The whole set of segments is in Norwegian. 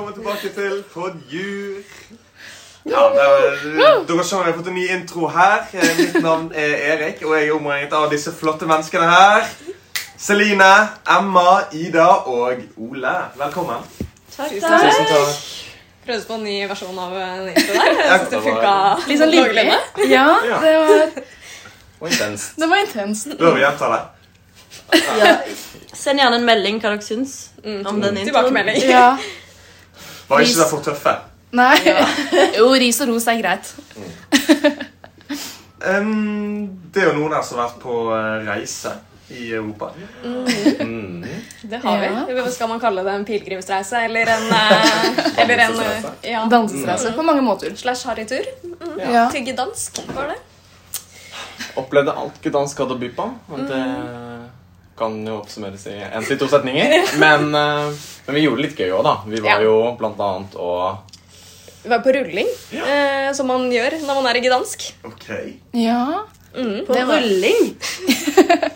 til Podjur. Ja, da- dere skjønner jeg har fått en ny intro her. Eh, Mitt navn er Erik, og jeg er omringet av disse flotte menneskene her. Celine, Emma, Ida og Ole. Velkommen. Takk, Tusen takk. takk. Prøvde på en ny versjon av en intro der. Jeg synes det det funka var- Litt sånn livlig. noenlunde. Ja, Ja. det var, Og intenst. det var intenst. Bør vi gjenta det? Send gjerne en melding hva dere syns om den Mm, introen. Tilbakemelding. Ja. Var ikke det for tøffe? Nei. Jo, ris og ros er greit. Em, det er jo noen her som har vært på eh, reise i Europa. Mm. Det har vi. Hva Skal man kalle det en pilegrimsreise eller en eh, Eller en eh, ja. Dansesreise på mange måter. slash harrytur? Ja. Til Gdansk, var det? Opplevde alt Gdansk hadde å by på. og Det kan jo oppsummeres i en til to setninger. Men, eh, men vi gjorde det litt gøy òg, da. Vi Ja. var jo blant annet og Vi var på rulling, eh, som man gjør når man er i Gdansk. Ok. Ja. På Mm. Det var- rulling. ja,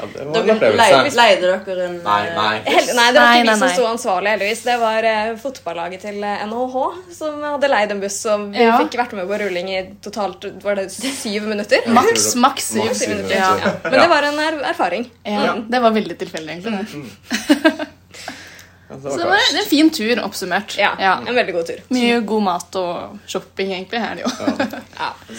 Det var en Dere leide, opplevelse. leide dere en Nei, eh, nei. Hel nei, det var Nei, ikke nei, vi som nei. sto ansvarlig, heldigvis. Det var eh, fotballaget til eh, NHH som hadde leid en buss, og vi Ja. fikk vært med på rulling i totalt var det syv minutter. Ma- Maks, maks syv. Maks syv minutter. Ja. Men det var en er erfaring. Ja, Mm. det var veldig tilfeldig, egentlig. Ja, det Så var det var klart. en fin tur, oppsummert. Ja, Ja. En veldig god tur. Mye god mat og shopping, egentlig, her, jo.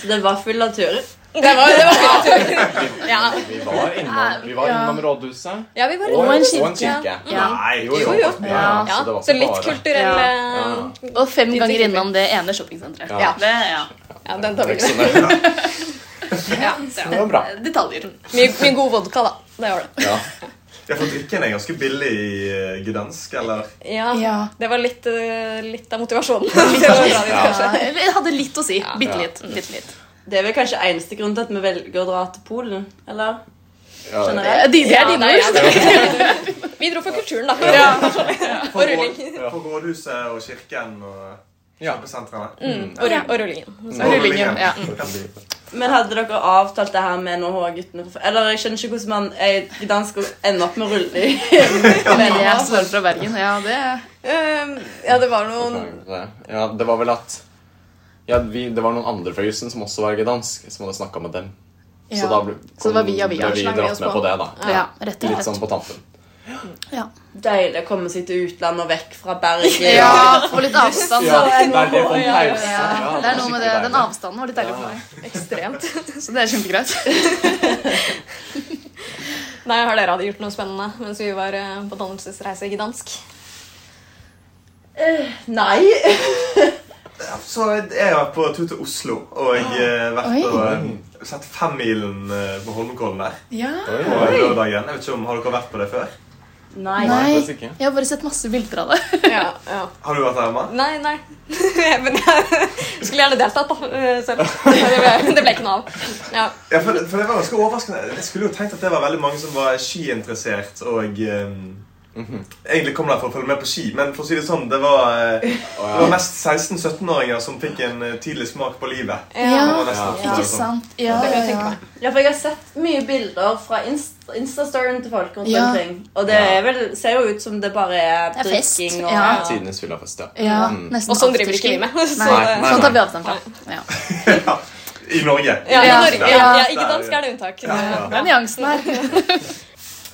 Så det var full av turer. Det var, det var en fin tur. Ja. Vi var innom, vi var Ja. innom rådhuset. ja, vi var Og, og en kirke. kirke. Ja. Nei, Jo, jo. Jo, jo. Ja, Ja, så det var så ikke litt eh, bare kulturelle Ja. Og fem Litt ganger tilfeldig. innom det ene shoppingsenteret. Ja. Det, ja. Ja, den tar vi Det ikke. var ikke sånn- så nøye. Ja. Det var bra. Detaljer. Mye, mye god vodka, da. Det var det. Ja. Jeg får drikken er ganske billig i eh, Gdansk, eller? Ja, Ja. Det var litt, eh, litt av motivasjonen. til å dra dit, Ja. kanskje. Ja, jeg hadde litt å si. Bitte litt. Bitte litt. Det er vel kanskje eneste grunn til at vi velger å dra til Polen, eller? Ja, Skjønner Eh, jeg. De, det er dine nei, ord. ja, det- Vi dro for kulturen, da. På, Og rulling. rå- på rådhuset og kirken og Ja. kjøpesentrene. Og, rull, og rullingen. Mm, Og rullingen. Ja. Men hadde dere avtalt det her med NHH-guttene? fra- Eller jeg skjønner ikke hvordan man er i dansk og ender opp med rulling. Men jeg er svar fra Bergen. Ja, det Um, ja, det var noen Beklager det. Ja, det var vel at ja, vi, Det var noen andre fra jussen som også var gdansk, som hadde snakka med dem. ja. Så da ble, Så det var via via. ble vi slang dratt oss med på det, da. Ja, rett og Litt sånn slett. på tampen. Ja. Deilig å komme seg til utlandet og vekk fra Bergen. ja, få litt avstand. Ja, da. det er det for en pause. Ja, Ja, det er noe med det, skikkelig Den deilig. avstanden var litt deilig for meg. ekstremt. Så det er kjempegreit. Nei, Har dere hadde gjort noe spennende mens vi var eh, på dannelsesreise i Gdansk? Nei. Ja, Så jeg har vært på tur til Oslo, og jeg har vært Ah, Oi. og eh, sett Femmilen eh, på Holmenkollen der. Ja. På Oi, oi. lørdagen. Jeg vet ikke om Har dere vært på det før? Nei. Nei, faktisk ikke. jeg har bare sett masse bilder av det. Ja, ja. Har du vært der, Emma? Nei, nei. Men jeg skulle gjerne deltatt, da. eh, Selv. Det ble, det ble ikke noe av. Ja. Ja, for, for det var ganske overraskende. Jeg skulle jo tenkt at det var veldig mange som var skiinteressert og ehm, egentlig kom der for å følge med på ski, men for å si det sånn, det var, eh, det var mest 16-17-åringer som fikk en eh, tidlig smak på livet. Ja. Det var nesten Ja. sånn. Ikke sant? Det Ja, ja, kan jeg tenke ja. meg. Ja, for jeg har sett mye bilder fra Inst Instastoryen til folk rundt Ja. omkring. Og det er vel, ser jo ut som det bare er Det er fest, drikking og ja. Tidenes fyllafest, ja. ja Mm. nesten Og sånn driver ikke afterski. vi med. Så, Nei, Nei, nei, sånn tar vi nei. avstand fra. Ja. I Norge. ja, Ja. Norge, ja, ja, ikke dansk er det unntak. Det er nyansen her.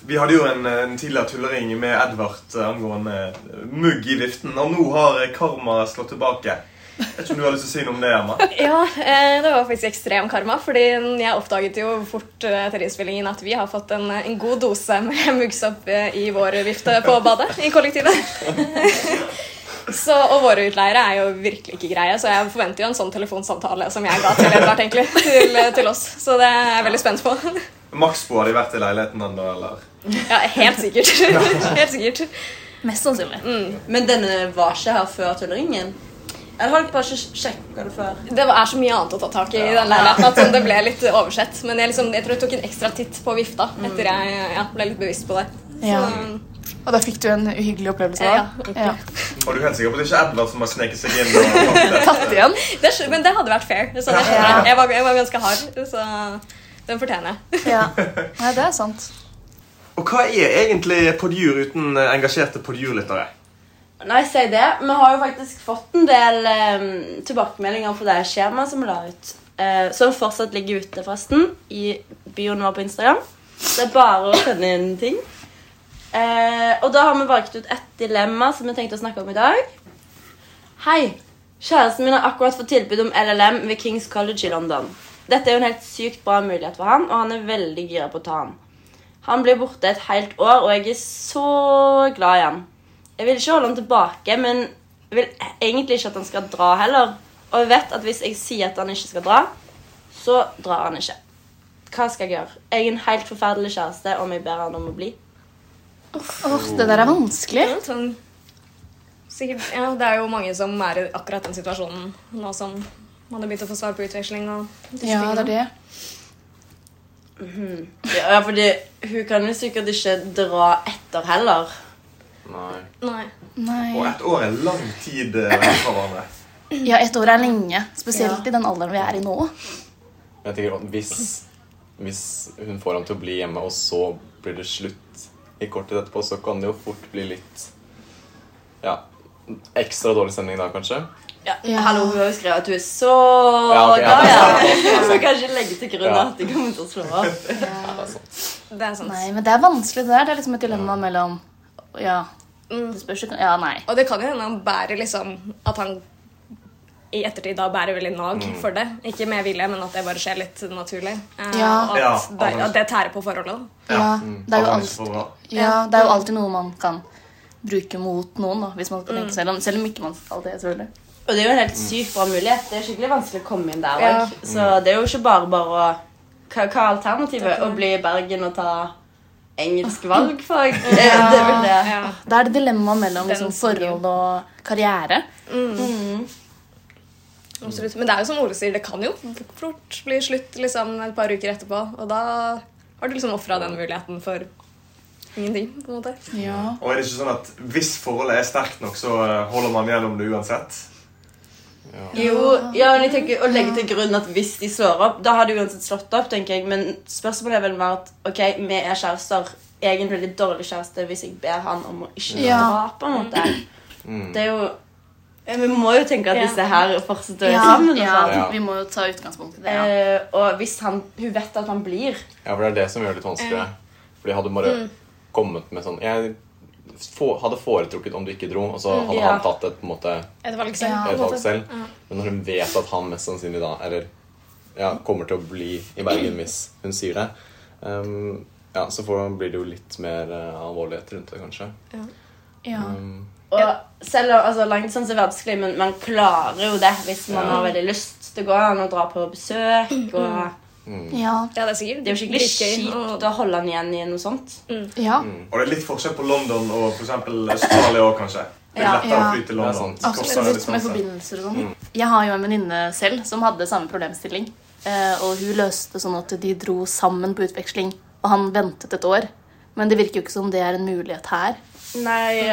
Vi hadde jo en, en tidligere tullering med Edvard eh, angående mugg i viften, og nå har eh, karma slått tilbake. Jeg vet ikke om du har lyst til å si noe om det, Emma? Ja, eh, det var faktisk ekstrem karma, fordi jeg oppdaget jo fort eh, etter innspillingen at vi har fått en, en god dose med muggsopp eh, i vår vifte på badet i kollektivet. Så, og våre utleiere er jo virkelig ikke greie, så jeg forventer jo en sånn telefonsamtale som jeg ga til Edvard, egentlig, til, eh, til oss. Så det er jeg veldig spent på. Maxbo, har de vært i leiligheten ennå, eller? Ja, helt sikkert. Helt sikkert. Mest sannsynlig. Men denne var ikke her før tulleringen. Eller har dere bare ikke sjekka det før? Det var- er så mye annet å ta tak i i den leiligheten at sånn, det ble litt oversett. Men jeg, liksom, jeg tror jeg tok en ekstra titt på vifta etter jeg ja, ble litt bevisst på det. Ja. Så, Og da fikk du en uhyggelig opplevelse da? Ja. Og du er helt sikker på at det ikke er Edvard som har sneket seg inn? Og tatt det? Tatt igjen? det, skj- men det hadde vært fair. Så jeg, skjønner det. jeg, var, jeg var ganske hard, så den fortjener jeg. Ja. Nei, det er sant. Og hva er egentlig podjur uten eh, engasjerte podjurlyttere? Nei, si det. Vi har jo faktisk fått en del eh, tilbakemeldinger på det skjemaet som vi la ut. Eh, som fortsatt ligger ute, forresten, i bioen vår på Instagram. Det er bare å sende inn ting. Eh, og da har vi valgt ut ett dilemma som vi tenkte å snakke om i dag. Hei. Kjæresten min har akkurat fått tilbud om LLM ved Kings College i London. Dette er jo en helt sykt bra mulighet for han, og han er veldig gira på å ta han. Han blir borte et helt år, og jeg er så glad i han. Jeg vil ikke holde han tilbake, men jeg vil egentlig ikke at han skal dra heller. Og jeg vet at hvis jeg sier at han ikke skal dra, så drar han ikke. Hva skal jeg gjøre? Jeg er en helt forferdelig kjæreste om jeg ber han om å bli. Åh, det der er vanskelig. Mm, Sånn, sikkert, ja, det er jo mange som er i akkurat den situasjonen nå som man har begynt å få svar på utveksling. og disse Ja, det tingene. er det. Ja, fordi hun kan jo sikkert ikke dra etter heller. Nei. Nei. Og Nei. ett år er lang tid eh, vekk fra hverandre. Ja, ett år er lenge. Spesielt Ja. i den alderen vi er i nå. Jeg tenker at hvis, hvis hun får ham til å bli hjemme, og så blir det slutt i kortet etterpå, så kan det jo fort bli litt Ja. Ekstra dårlig stemning da, kanskje. Ja, Ja. Hallo, hun har jo skrevet at hun er så Ja, ok, ja, glad det i er ham. Så kan ikke legge til grunn Ja. at de kommer til å slå opp. Ja, det er sant. Det er sant. Nei, men det er vanskelig det der. Det er liksom et dilemma mellom Ja, det spørs ikke Ja, nei. Og det kan jo hende han bærer liksom At han i ettertid da bærer veldig nag Mm. for det. Ikke med vilje, men at det bare skjer litt naturlig. Eh, Ja. Og at, Ja, det, absolutt. at det tærer på forholdet. Ja, det er jo Alle alt for bra. Ja, det er jo alltid noe man kan bruke mot noen, da, hvis man skal tenke selv om, selv om ikke man skal det, selvfølgelig. Og det er jo en helt sykt bra mulighet. Det er skikkelig vanskelig å komme inn der Ja. òg. Så det er jo ikke bare bare å Hva, hva er alternativet? Å bli i Bergen og ta engelsk valgfag? Eh, Det er vel det. Ja. Da er det dilemma mellom liksom, Den sier jo- forhold og karriere. Absolutt. Men det er jo som Ole sier, det kan jo fort bli slutt liksom, et par uker etterpå. Og da har du liksom ofra den muligheten for ingenting. på en måte. Ja. Og er det ikke sånn at hvis forholdet er sterkt nok, så eh, holder man gjennom det uansett? Jo, ja, men jeg tenker Å legge til grunn at hvis de slår opp Da har de uansett slått opp, tenker jeg. Men spørsmålet er vel mer at ok, vi er kjærester. Jeg er en veldig dårlig kjæreste hvis jeg ber han om å ikke dra. Ja. på en måte. Det er jo ja, Vi må jo tenke at Ja. disse her fortsetter å være Ja, sammen. og ja, sånn. Ja. vi må jo ta utgangspunkt i det. Ja. Eh, og hvis han, hun vet at han blir Ja, for det er det som gjør det litt vanskeligere. Fordi hadde hun bare kommet med sånn Jeg få- hadde foretrukket om du ikke dro, og så hadde Ja. han tatt et, på en måte, Et valg selv. Ja. på en et valg måte. selv. Ja. Men når hun vet at han mest sannsynlig da eller, ja, kommer til å bli i Bergen hvis hun sier det, ehm, ja, så får, blir det jo litt mer eh, alvorlighet rundt det, kanskje. Ja. Ehm, Og selv om altså, langdistans er vanskelig, men man klarer jo det hvis man har veldig lyst. Det går an å dra på besøk. Og ja, Ja. det er sikkert. det er jo skikkelig dritgøy å- kjipt å holde han igjen i noe sånt. ja. Mm. Og det er litt forskjell på London og for eksempel Australia òg, kanskje. Det er Ja. lettere å Ja. fly til Det sånn Mm. er London. sant. Kortere Absolutt. Med distanse. forbindelser og sånn. Jeg har jo en venninne selv som hadde samme problemstilling. eh, Og hun løste sånn at de dro sammen på utveksling, og han ventet et år. Men det virker jo ikke som det er en mulighet her. Nei,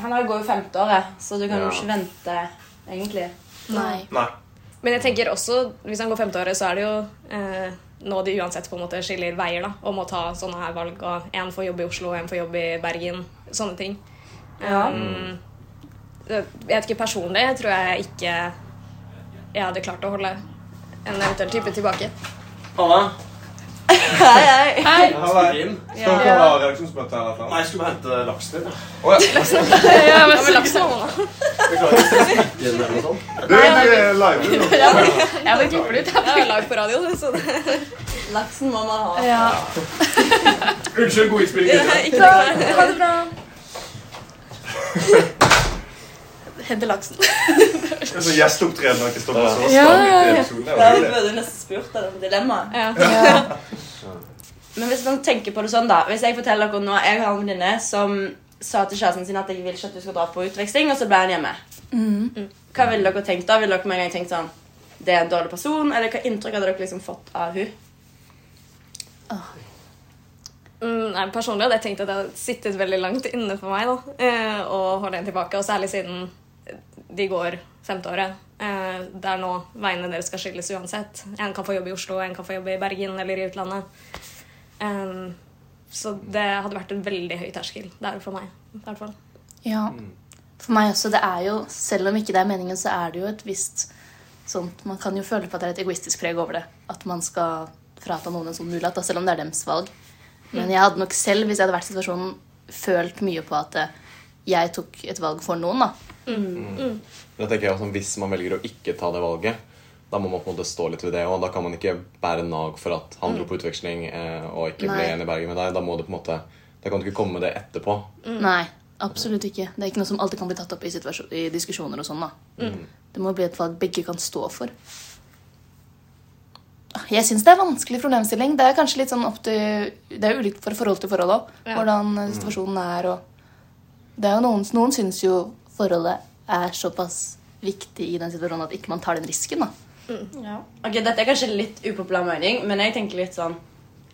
han her går jo femteåret, så du kan Ja. jo ikke vente, egentlig. Nei. Nei. Men jeg tenker også, hvis han går femteåret, så er det jo eh, nå de uansett på en måte skiller veier da, og må ta sånne her valg. Og en får jobb i Oslo, en får jobb i Bergen. Sånne ting. Ja. Um, det- jeg vet ikke personlig, jeg tror jeg ikke jeg hadde klart å holde en eventuell type tilbake. Anna, Hei, hei. inn. Skal dere ha redaksjonsmøte her? eller noe? Nei, jeg skulle bare hente laksen din. jeg. Å, ja. Ja, men laks nå, da. Inn eller noe sånt. Du, du er live. du. Jeg bare klipper det ut. Det er jo lag på radio, så det Laksen må man ha. Ja. Unnskyld, god innspilling. videre. ikke noe der. Ha det bra. Hedde laksen. Det er sånn gjesteopptreden har ikke stått på så Ja, ja, ja. stangt. Det er jo det. burde nesten spurt deg om dilemmaet. Ja. Men hvis man tenker på det sånn, da Hvis jeg forteller dere nå Jeg har en venninne som sa til kjæresten sin at jeg vil ikke at du skal dra på utveksling, og så ble han hjemme. Mm. Hva ville dere tenkt da? Ville dere med en gang tenkt sånn Det er en dårlig person? Eller hva inntrykk hadde dere liksom fått av hun? Mm, nei, personlig hadde jeg tenkt at det hadde sittet veldig langt inne for meg da, eh, å holde en tilbake. Og særlig siden de går femteåret. Eh, det er nå veiene deres skal skilles uansett. En kan få jobb i Oslo, en kan få jobb i Bergen eller i utlandet. Em, Mm. så det hadde vært en veldig høy terskel der for meg. i hvert fall. Ja. For meg også, det er jo, selv om ikke det er meningen, så er det jo et visst sånt Man kan jo føle på at det er et egoistisk preg over det. At man skal frata noen en sånn mulighet, da, selv om det er dems valg. Men jeg hadde nok selv, hvis jeg hadde vært i situasjonen, følt mye på at eh, jeg tok et valg for noen, da. Men da tenker jeg også, Hvis man velger å ikke ta det valget, da må man på en måte stå litt ved det. Og da kan man ikke bære nag for at han dro på utveksling eh, og ikke ble Nei. igjen i Bergen med deg. Da må du på en måte, da kan du ikke komme med det etterpå. Nei, absolutt ikke. Det er ikke noe som alltid kan bli tatt opp i, situasjon- i diskusjoner og sånn, da. Mm. Det må bli et valg begge kan stå for. Ah, Jeg syns det er vanskelig problemstilling. Det er kanskje litt sånn opp til Det er jo ulikt fra forhold til forhold òg, Ja. hvordan eh, situasjonen Mm. er og Det er jo noen Noen syns jo forholdet er såpass viktig i den situasjonen at ikke man tar den risken, da. Ok, Dette er kanskje litt upopulær mening, men jeg tenker litt sånn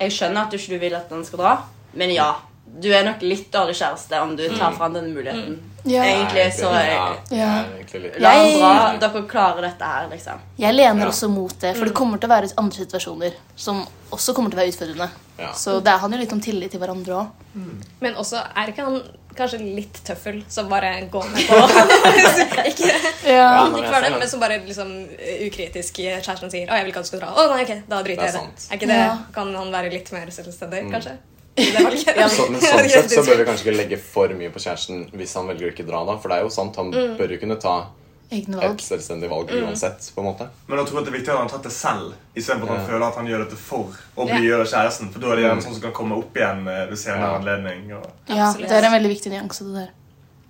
Jeg skjønner at du ikke vil at den skal dra, men ja. Du er nok litt dårlig kjæreste om du tar fra han denne muligheten. Mm. Egentlig så Nei, jeg, ja, Ja. egentlig litt. La han Jeg- dra. Dere klarer dette her, liksom. Jeg lener Ja. Mm. også mot det, for det kommer til å være andre situasjoner som også kommer til å være utfordrende. Ja. Så det handler litt om tillit til hverandre òg. Men også er ikke han kanskje litt tøffel som bare går med på Ikke Ja, nei, ikke jeg var det, ser men det. som bare liksom eh, ukritisk i kjæresten sier 'Å, jeg vil ikke at du skal dra.' 'Å, nei, ok, da driter Det er jeg i det.' sant. Mm. Er ikke det, Ja. Kan han være litt mer selvstendig, kanskje? Det valget. Så, men sånn sett så bør vi kanskje ikke legge for mye på kjæresten hvis han velger å ikke dra, da. For det er jo sant, han bør jo kunne ta Egne et valg. selvstendig valg uansett, på en måte. Men jeg tror at det er viktig at han har tatt det selv, istedenfor at han Ja. Mm. føler at han gjør dette for å Ja. blidgjøre kjæresten. For da er det gjerne sånn som kan komme opp igjen eh, ved senere Ja. anledning. Og... Ja, Absolutt. det er en veldig viktig nyanse, det der.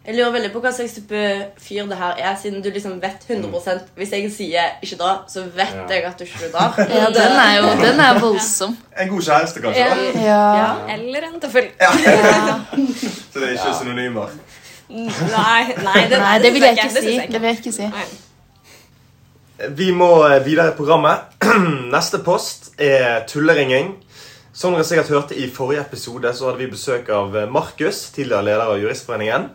Jeg lurer veldig på hva slags type fyr det her er, siden du liksom vet 100 Hvis jeg sier 'ikke dra', så vet Ja. jeg at du ikke drar. Ja, den er jo den er voldsom. En god kjæreste, kanskje. da? En- Ja. Eller en tøffel. Så det er ikke synonymer. Nei, nei, det, Nei, det vil jeg ikke det si. synes Det vil jeg ikke si. Nei. Vi må eh, videre i programmet. Neste post er tulleringing. Som dere sikkert hørte i forrige episode, så hadde vi besøk av eh, Markus, tidligere leder av Juristforeningen.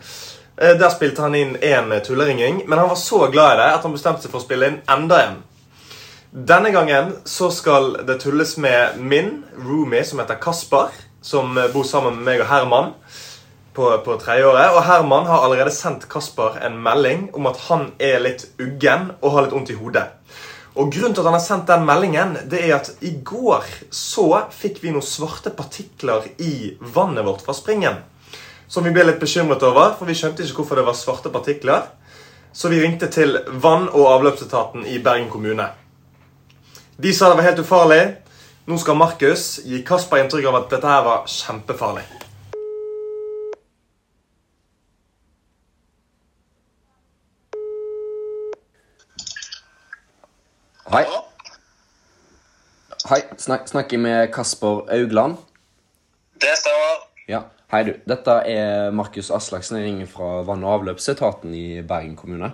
Eh, Der spilte han inn én tulleringing, men han var så glad i det at han bestemte seg for å spille inn enda en. Denne gangen så skal det tulles med min roomie, som heter Kasper, som eh, bor sammen med meg og Herman på, på tredjeåret. Og Herman har allerede sendt Kasper en melding om at han er litt uggen og har litt vondt i hodet. Og grunnen til at han har sendt den meldingen, det er at i går så fikk vi noen svarte partikler i vannet vårt fra springen. Som vi ble litt bekymret over, for vi skjønte ikke hvorfor det var svarte partikler. Så vi ringte til vann- og avløpsetaten i Bergen kommune. De sa det var helt ufarlig. Nå skal Markus gi Kasper inntrykk av at dette her var kjempefarlig. Hei. Hei, snak, snakker med Kasper Augland. Det stemmer. Ja, hei du. Dette er Markus Aslaksen. Jeg ringer fra vann- og avløpsetaten i Bergen kommune.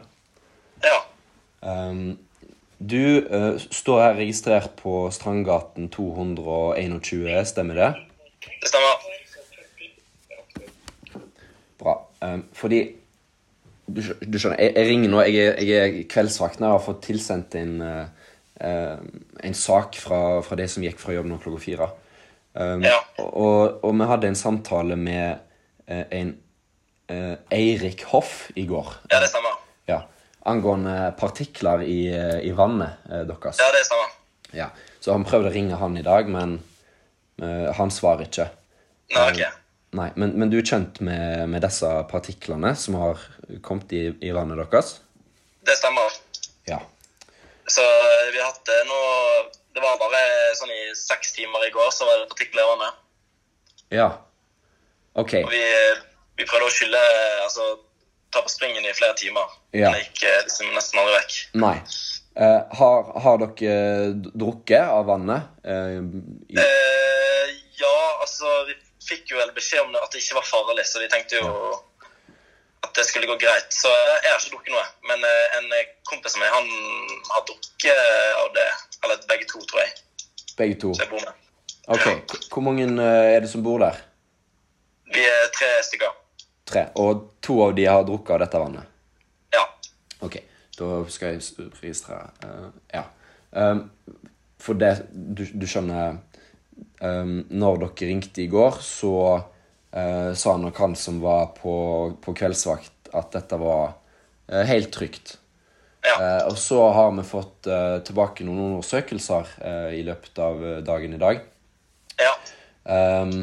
Ja. Ehm, du eh, står her registrert på Strandgaten 221, stemmer det? Det stemmer. Bra. Ehm, fordi du, skj- du skjønner, jeg, jeg ringer nå. Jeg er, jeg er kveldsvakten. Jeg har fått tilsendt en, eh, eh, en sak fra, fra de som gikk fra jobb nå klokka fire. Ehm, Ja. og, og vi hadde en samtale med eh, en eh, Eirik Hoff i går. Ja, det stemmer. Ja. Angående partikler i, eh, i vannet eh, deres. Ja, det stemmer. Ja. Så han prøvde å ringe han i dag, men eh, han svarer ikke. Nei, ok. Nei, men, men du er kjent med, med disse partiklene som har kommet i, i vannet deres? Det stemmer. Ja. Så eh, vi har hatt det nå Det var bare sånn i seks timer i går, så var det partikler i vannet. Ja. Ok. Og vi, vi prøvde å skylle Altså ta på springen i flere timer. Ja. Men det gikk eh, liksom nesten aldri vekk. Nei. Eh, har, har dere d- drukket av vannet? Eh, i, Eh, ja, altså Vi fikk jo vel beskjed om det at det ikke var farlig, så vi tenkte jo at det skulle gå greit. Så eh, jeg har ikke drukket noe. Men eh, en eh, kompis av meg, han har drukket av det. Eller begge to, tror jeg. begge to. som jeg bor med. Ok. K- Hvor mange eh, er det som bor der? Vi er tre stykker. Tre. Og to av de har drukket av dette vannet? Ja. Ok, da skal jeg s- registrere eh, Ja. Ehm, for det Du, du skjønner ehm, Når dere ringte i går, så eh, sa nok han som var på, på kveldsvakt, at dette var eh, helt trygt. Ja. Eh, og så har vi fått eh, tilbake noen undersøkelser eh, i løpet av eh, dagen i dag. Ja. Ehm,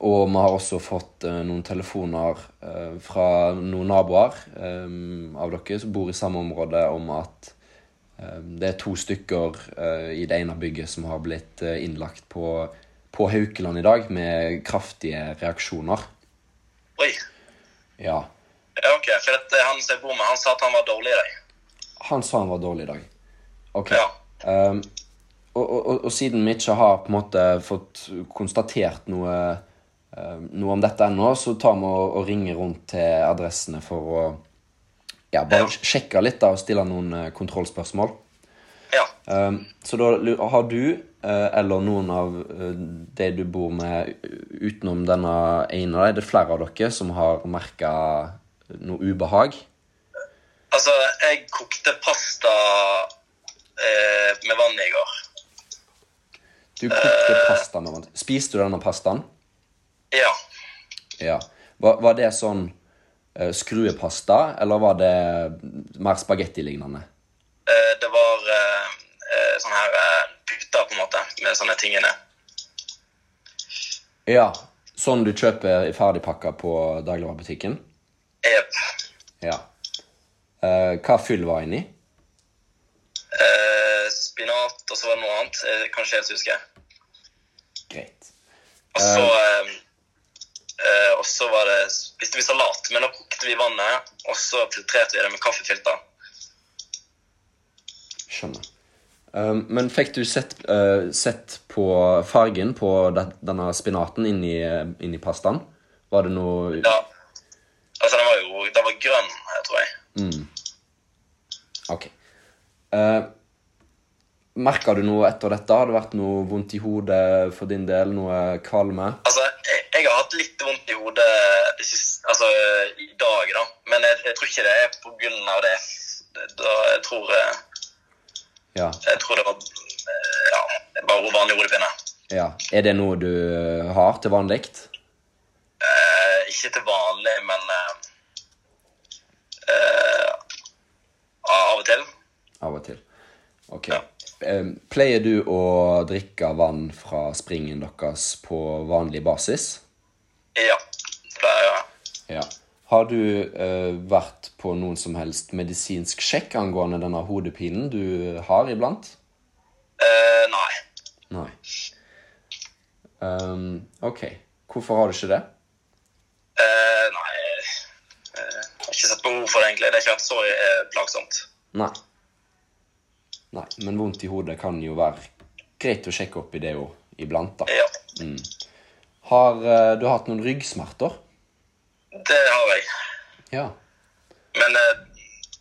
og vi har også fått eh, noen telefoner eh, fra noen naboer ehm, av dere som bor i samme område, om at ehm, det er to stykker eh, i det ene bygget som har blitt eh, innlagt på, på Haukeland i dag med kraftige reaksjoner. Oi. Ja. Ja, ok. For at eh, han som jeg bor med, han sa at han var dårlig i dag. Han sa han var dårlig i dag. Ok. Ja. Ehm, og, og, og, og siden vi ikke har på en måte fått konstatert noe, ehm, noe om dette ennå, så tar vi og, og ringer rundt til adressene for å ja, bare Ja. sjekke litt da, og stille noen eh, kontrollspørsmål. Ja. Ehm, så da lu- har du, eh, eller noen av eh, de du bor med u- utenom denne ene, av deg, det er flere av dere som har merka noe ubehag? Altså, jeg kokte pasta eh, med vann i går. Du kokte pasta med vann. Spiste du denne pastaen? Ja. Ja. Var, var det sånn eh, skruepasta, eller var det mer spagettilignende? Eh, det var eh, eh, sånne her eh, puter, på en måte, med sånne tingene. Ja. Sånn du kjøper i ferdigpakka på dagligvarebutikken? Jep. Ja. Eh, hva fyll var inni? Eh, spinat, og så var det noe annet. Eh, kanskje jeg ikke husker. Greit. Og så eh, eh, Og så var det Spiste vi salat, men da kokte vi vannet, og så filtrerte vi det med kaffefilter. Skjønner. Eh, men fikk du sett, eh, sett på fargen på de- denne spinaten inni, inni pastaen? Var det noe Ja. Altså, den var jo Den var grønn, eh, tror jeg. Ok. Uh, Merka du noe etter dette? Har det vært noe vondt i hodet for din del? Noe kvalme? Altså, jeg, jeg har hatt litt vondt i hodet det siste, altså, i dag, da. Men jeg, jeg tror ikke det er på grunn av det. Da, jeg, tror, eh, Ja. jeg tror det var eh, Ja, bare vanlig hodepine. ja. Er det noe du har til vanlig? Eh, ikke til vanlig, men eh, eh, av og til. Av og til. Ok. Ja. Eh, Pleier du å drikke vann fra springen deres på vanlig basis? Ja. Det er, jo- Ja. Har du eh, vært på noen som helst medisinsk sjekk angående denne hodepinen du har iblant? eh, nei. Nei. Ehm, ok. Hvorfor har du ikke det? Eh, nei. eh, jeg har ikke sett behov for det, egentlig. Det har ikke vært så eh, plagsomt. Nei. Nei, men vondt i hodet kan jo være greit å sjekke opp i det òg, iblant, da. Ja, Har eh, du hatt noen ryggsmerter? det har jeg. Ja. Men eh,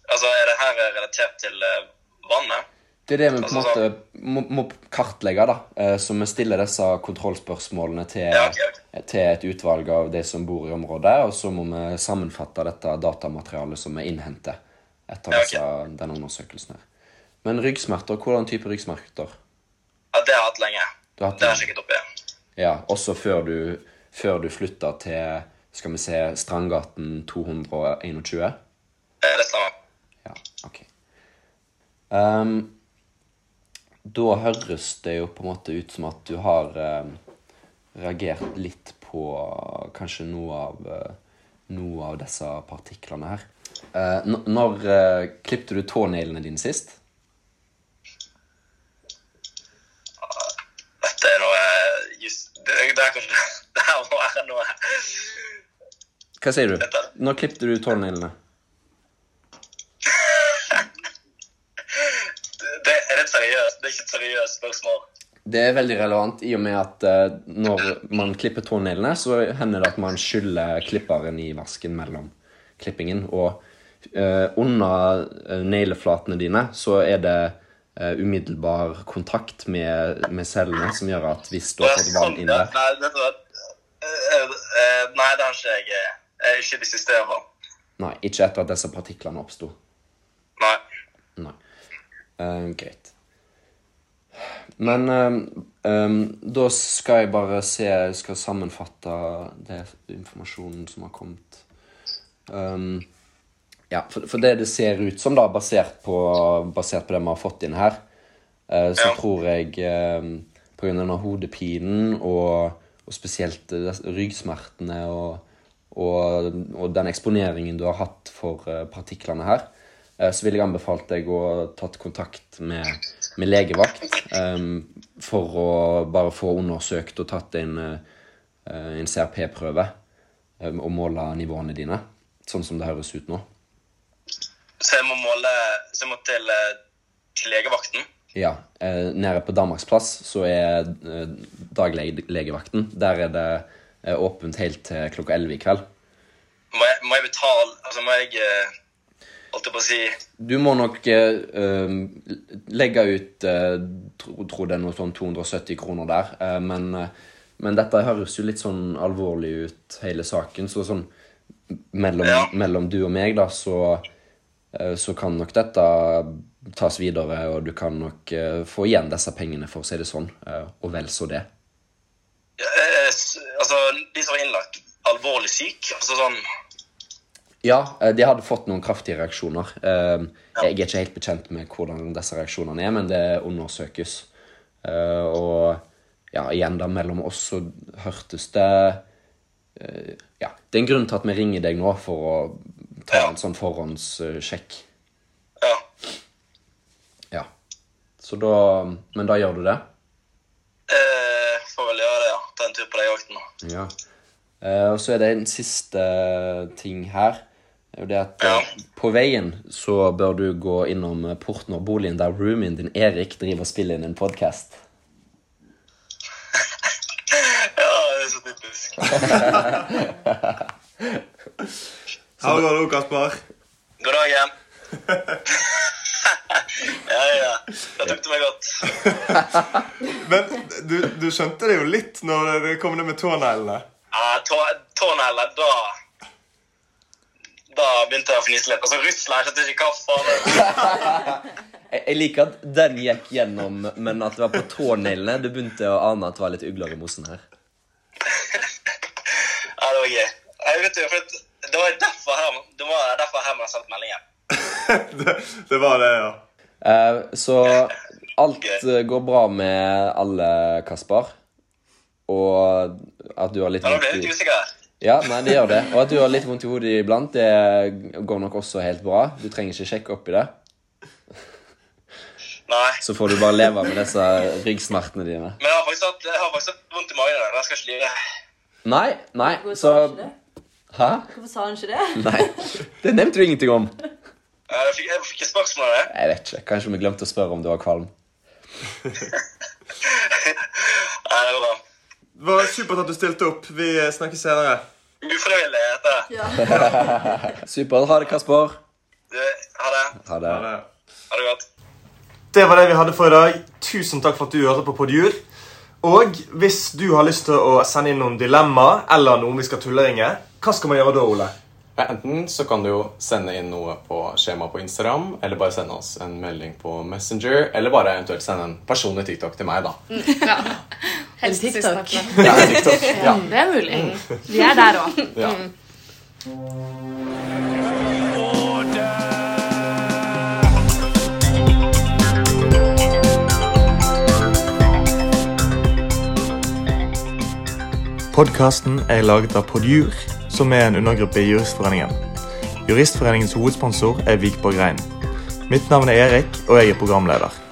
altså, er det her relatert til eh, vannet? Det er det vi på en Altså, måte må, må kartlegge, da. eh, Så vi stiller disse kontrollspørsmålene til, Ja, ok, til et utvalg av de som bor i området, og så må vi sammenfatte dette datamaterialet som vi innhenter etter Ja, ok. disse, denne undersøkelsen her. Men ryggsmerter, hvordan type ryggsmerter? Ja, det har jeg hatt lenge. Du har hatt det har lenge. jeg sjekket opp igjen. Ja, også før du, før du flytta til, skal vi se, Strandgaten 221? Eh, det stemmer. Ja, ok. Ehm, da høres det jo på en måte ut som at du har ehm, reagert litt på kanskje noe av, eh, noe av disse partiklene her. Eh, n- når uh, klippte du tåneglene dine sist? Dette er noe eh, just, det, det er kanskje Det her må være noe Hva sier du? Dette. Når klippte du tåneglene? det, Er det et seriøst? Det er ikke et seriøst spørsmål. Det er veldig relevant i og med at eh, når man klipper tåneglene, så hender det at man skyller klipperen i vasken mellom klippingen. Og eh, under eh, negleflatene dine så er det eh, umiddelbar kontakt med, med cellene som gjør at hvis du Og har jeg fått vann sånn, inn ja. der Nei, vet du hva? Eh, eh, Nei, det har ikke jeg. eh, eh, Ikke de siste årene. Nei, ikke etter at disse partiklene oppsto. Nei. Nei. Eh, greit. Men eh, eh, da skal jeg bare se Jeg skal sammenfatte det informasjonen som har kommet. Um, ja, for, for det det ser ut som, da, basert på, basert på det vi har fått inn her, eh, så Ja. tror jeg eh, på grunn av denne hodepinen og, og spesielt eh, des- ryggsmertene og, og, og den eksponeringen du har hatt for eh, partiklene her, eh, så ville jeg anbefalt deg å ta kontakt med, med legevakt eh, for å bare få undersøkt og tatt en, eh, eh, en CRP-prøve eh, og måle nivåene dine, sånn som det høres ut nå. Så jeg må måle Så jeg må til, eh, til legevakten. Ja. Eh, nede på Danmarksplass så er eh, daglegevakten. Der er det eh, åpent helt til klokka 11 i kveld. Må jeg, må jeg betale Altså, må jeg eh, Holdt jeg på å si Du må nok eh, eh, legge ut eh, tro, tro det er noe sånn 270 kroner der, eh, men, eh, men dette høres jo litt sånn alvorlig ut, hele saken. Så sånn mellom, Ja. mellom du og meg, da, så, eh, så kan nok dette tas videre, og du kan nok eh, få igjen disse pengene, for å si det sånn, eh, og vel så det. eh, s- Altså, de som var innlagt alvorlig syk Altså sånn Ja, eh, de hadde fått noen kraftige reaksjoner. Eh, Jeg er ikke helt bekjent med hvordan disse reaksjonene er, men det undersøkes. Eh, Og ja, igjen da, mellom oss så hørtes det eh, Ja, det er en grunn til at vi ringer deg nå for å ta Ja. en sånn forhåndssjekk. Ja. Ja. Så da Men da gjør du det? Eh, får vel gjøre det, ja. Ta en tur på legevakten nå. Ja. Eh, og så er det en siste ting her. Det er jo det at eh, på veien så bør du gå innom eh, porten og boligen der roomien din Erik driver og spiller inn en podkast. Ja, det er så typisk. Her går det òg, Kasper. God dag igjen. ja, ja. Det tok du meg godt. Men du, du skjønte det jo litt når det kom ned med tåneglene. Ja, tå- tånegler, da Da begynte jeg å fnise litt. Altså, Russland, jeg skjønte ikke hva faen det- Jeg, jeg liker at den gikk gjennom, men at det var på tåneglene. Du begynte å ane at det var litt ugler i mosen her. Ja, det var gøy. Jeg vet jo, for at det var derfor Herman, det var derfor Herman sendte meldingen. Det, det var det, ja. Eh, så alt eh, går bra med alle, Kasper. Og at du har litt Men nå ble vondt jeg i- litt usikker. her. Ja, nei, det gjør det. Og at du har litt vondt i hodet iblant, det går nok også helt bra. Du trenger ikke sjekke opp i det. Nei. Så får du bare leve med disse ryggsmertene dine. Men jeg har faktisk hatt, jeg har faktisk hatt vondt i magen i dag. Jeg skal ikke lyve. Nei, nei, Hvorfor så sa han ikke det? Hæ? Hvorfor sa han ikke det? Nei. Det nevnte du ingenting om. Ja, Jeg fikk, jeg fikk ikke spørsmål om det. Jeg vet ikke. Kanskje vi glemte å spørre om du var kvalm. Nei, det var bra. Det var supert at du stilte opp. Vi snakkes senere. Ufrivillig heter det. Supert. Ha det, Kasper. Du, Ha det. Ha det. Ha det. Ha det godt. Det var det vi hadde for i dag. Tusen takk for at du hørte på Podjur. Og hvis du har lyst til å sende inn noen dilemmaer eller noen vi skal tulleringe, hva skal man gjøre da, Ole? Ja, Enten så kan du jo sende inn noe på skjemaet på Instagram, eller bare sende oss en melding på Messenger, eller bare eventuelt sende en personlig TikTok til meg, da. Helst TikTok. siste natten. Ja, TikTok. Ja, Det er mulig. Vi er der òg. ja. Podkasten er laget av Podjur, som er en undergruppe i Juristforeningen. Juristforeningens hovedsponsor er Vikborg Rein. Mitt navn er Erik, og jeg er programleder.